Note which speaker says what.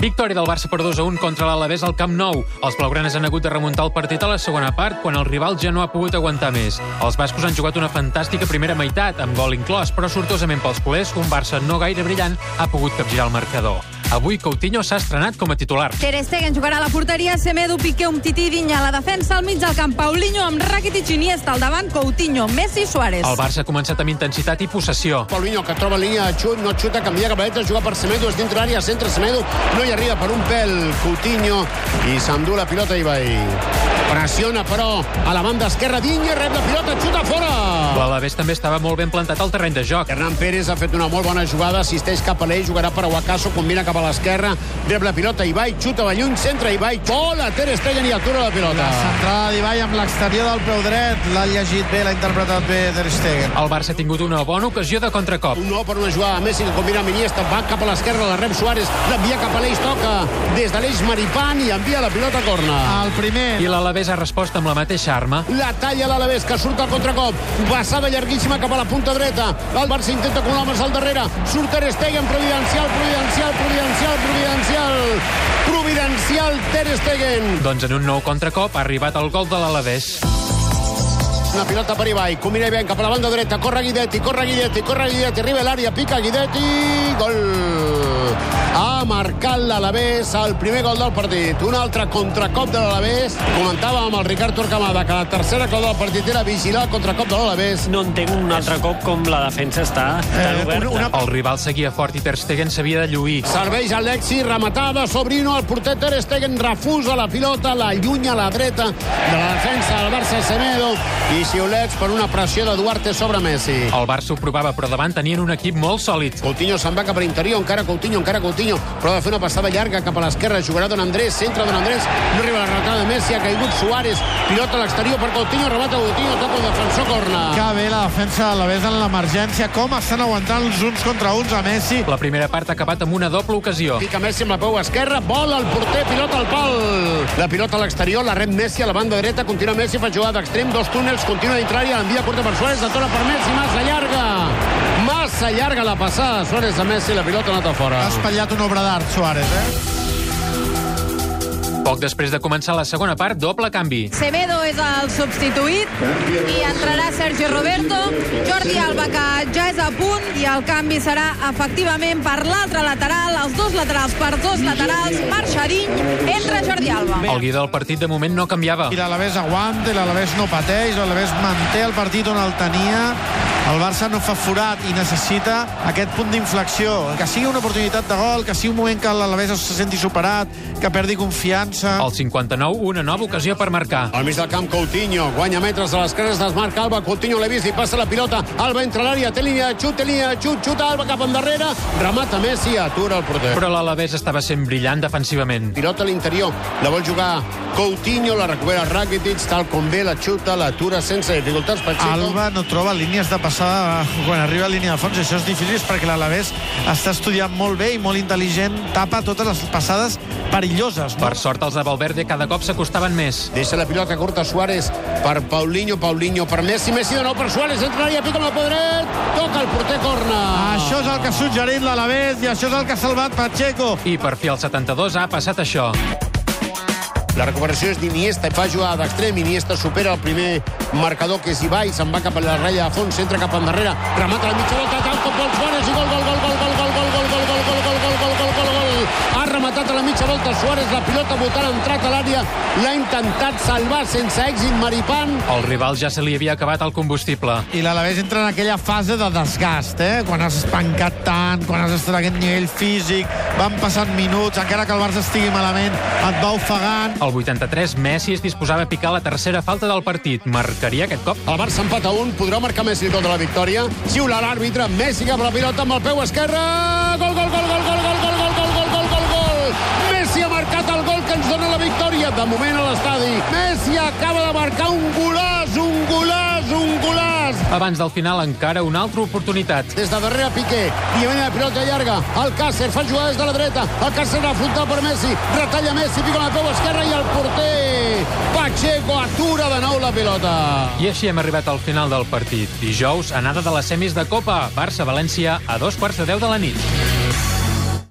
Speaker 1: Victòria del Barça per 2 a 1 contra l'Alavés al Camp Nou. Els blaugranes han hagut de remuntar el partit a la segona part, quan el rival ja no ha pogut aguantar més. Els bascos han jugat una fantàstica primera meitat, amb gol inclòs, però sortosament pels culers, un Barça no gaire brillant ha pogut capgirar el marcador. Avui Coutinho s'ha estrenat com a titular.
Speaker 2: Ter Stegen jugarà a la porteria, Semedo, Piqué, Umtiti, Dinya a la defensa, al mig del camp Paulinho, amb Rakitic, Iniesta al davant, Coutinho, Messi, Suárez.
Speaker 1: El Barça ha començat amb intensitat i possessió.
Speaker 3: Paulinho, que troba línia de xut, no xuta, canvia cap a dreta, juga per Semedo, és dintre l'àrea, centre Semedo, no hi arriba per un pèl Coutinho i s'endú la pilota i vai. Pressiona, però, a la banda esquerra, Dinya, rep la pilota, xuta fora!
Speaker 1: L'Alavés també estava molt ben plantat al terreny de joc.
Speaker 3: Hernán Pérez ha fet una molt bona jugada, assisteix cap a l'ell, jugarà per Aguacaso, combina cap a l'esquerra, rep la pilota, Ibai, xuta de lluny, centre, Ibai, gol, a Ter Stegen i atura la pilota.
Speaker 4: La centrada d'Ibai amb l'exterior del peu dret. L'ha llegit bé, l'ha interpretat bé Ter Stegen.
Speaker 1: El Barça ha tingut una bona ocasió de contracop.
Speaker 3: Un nou per una jugada de Messi que combina amb Iniesta, va cap a l'esquerra, la rep Suárez, l'envia cap a l'eix, toca des de l'eix Maripán i envia la pilota a corna.
Speaker 4: El primer...
Speaker 1: I l'Alavés ha respost amb la mateixa arma.
Speaker 3: La talla l'Alavés, que surt al contracop. Passada llarguíssima cap a la punta dreta. El Barça intenta colar més al darrere. Surt Ter Stegen, providencial, providencial, providencial, providencial. Providencial Ter Stegen.
Speaker 1: Doncs en un nou contracop ha arribat el gol de l'Alavés.
Speaker 3: Una pilota per Ibai. Combina Ibai cap a la banda dreta. Corre Guidetti, corre Guidetti, corre Guidetti. Arriba a l'àrea, pica Guidetti. Gol. Ha marcat l'Alavés el primer gol del partit. Un altre contracop de l'Alavés. Comentava amb el Ricard Torquemada que la tercera cosa del partit era vigilar el contracop de l'Alavés.
Speaker 5: No entenc un altre cop com la defensa està tan oberta.
Speaker 4: una-
Speaker 1: El rival seguia fort i Ter Stegen s'havia de lluir.
Speaker 3: Serveix Alexi, rematada, Sobrino, el porter Ter Stegen refusa la pilota, la llunya a la dreta de la defensa del Barça Semedo i xiulets per una pressió de Duarte sobre Messi.
Speaker 1: El Barça ho provava, però davant tenien un equip molt sòlid.
Speaker 3: Coutinho se'n va cap a l'interior, encara Coutinho, encara Coutinho, però ha de fer una passada llarga cap a l'esquerra, jugarà Don Andrés, centre Don Andrés, no arriba la rematada de Messi, ha caigut Suárez, pilota a l'exterior per Coutinho, remata Coutinho, toca el defensor, corna.
Speaker 4: Que bé la defensa de l'Alavés en l'emergència. Com estan aguantant els uns contra uns a Messi.
Speaker 1: La primera part ha acabat amb una doble ocasió.
Speaker 3: Pica Messi amb la peu esquerra, vol el porter, pilota al pal. La pilota a l'exterior, la rep Messi a la banda dreta, continua Messi, fa jugada extrem, dos túnels, continua dintre l'àrea, l'envia curta per Suárez, atora per Messi, massa llarga. Massa llarga la passada de Suárez a Messi, la pilota ha anat a fora.
Speaker 4: Ha espatllat una obra d'art, Suárez, eh?
Speaker 1: Poc després de començar la segona part, doble canvi.
Speaker 2: Semedo és el substituït i entrarà Sergio Roberto, Jordi Alba, que ja és a punt, i el canvi serà efectivament per l'altre lateral, els dos laterals per dos laterals, Marxadiny, entra Jordi Alba.
Speaker 1: El guia del partit de moment no canviava.
Speaker 4: I l'Alavés aguanta, i l'Alavés no pateix, l'Alavés manté el partit on el tenia. El Barça no fa forat i necessita aquest punt d'inflexió. Que sigui una oportunitat de gol, que sigui un moment que l'Alavés se senti superat, que perdi confiança.
Speaker 1: Al 59, una nova ocasió per marcar.
Speaker 3: Al mig del camp, Coutinho guanya metres a les cares, desmarca Alba, Coutinho l'ha vist i passa la pilota, Alba entra a l'àrea, té línia de xut, té línia de xut, xuta Alba cap endarrere, remata Messi, atura el porter.
Speaker 1: Però l'Alavés estava sent brillant defensivament.
Speaker 3: pilota a l'interior, la vol jugar Coutinho, la recupera Rakitic, tal com ve, la xuta, l'atura sense dificultats Pacheco.
Speaker 4: Alba no troba línies de passada quan arriba a línia de fons, i això és difícil és perquè l'Alavés està estudiant molt bé i molt intel·ligent, tapa totes les passades perilloses. No?
Speaker 1: Per sort, els de Valverde cada cop s'acostaven més.
Speaker 3: Deixa la pilota curta Suárez per Paulinho, Paulinho per Messi, Messi de nou per Suárez, entra a l'àrea, pica amb el peu dret, toca el porter corna.
Speaker 4: Això és el que ha suggerit l'Alavés i això és el que ha salvat Pacheco.
Speaker 1: I per fi al 72 ha passat això.
Speaker 3: La recuperació és d'Iniesta, fa jugada d'extrem, Iniesta supera el primer marcador que és Ibai, se'n va cap a la ratlla de fons, centra cap endarrere, remata la mitja volta, tal com vol Suárez, i gol, gol, gol, gol, gol, gol, gol, gol, gol, gol, gol, gol, gol, gol, gol, gol, ha rematat a la mitja volta Suárez, la pilota votant, ha entrat a l'àrea, l'ha intentat salvar sense èxit Maripán,
Speaker 1: El rival ja se li havia acabat el combustible.
Speaker 4: I l'Alavés entra en aquella fase de desgast, eh? Quan has espancat tant, quan has estat a aquest nivell físic, van passant minuts, encara que el Barça estigui malament, et va ofegant.
Speaker 1: Al 83, Messi es disposava a picar la tercera falta del partit. Marcaria aquest cop?
Speaker 3: El Barça empata un, podrà marcar Messi el gol de la victòria. Xiula l'àrbitre, Messi cap a la pilota amb el peu esquerre. Gol, gol, gol, gol, gol, gol, gol, gol, gol, gol, gol, gol, gol. Messi ha marcat el gol que ens dona la victòria. De moment a l'estadi, Messi acaba de marcar un golàs, un golàs, un golàs
Speaker 1: Abans del final, encara una altra oportunitat.
Speaker 3: Des de darrere Piqué, Diemena de pilota llarga, el Càcer fa jugar des de la dreta, el Càcer afrontat per Messi, retalla Messi, pica amb la peu esquerra i el porter Pacheco atura de nou la pilota.
Speaker 1: I així hem arribat al final del partit. Dijous, anada de les semis de Copa. Barça-València a dos quarts de deu de la nit.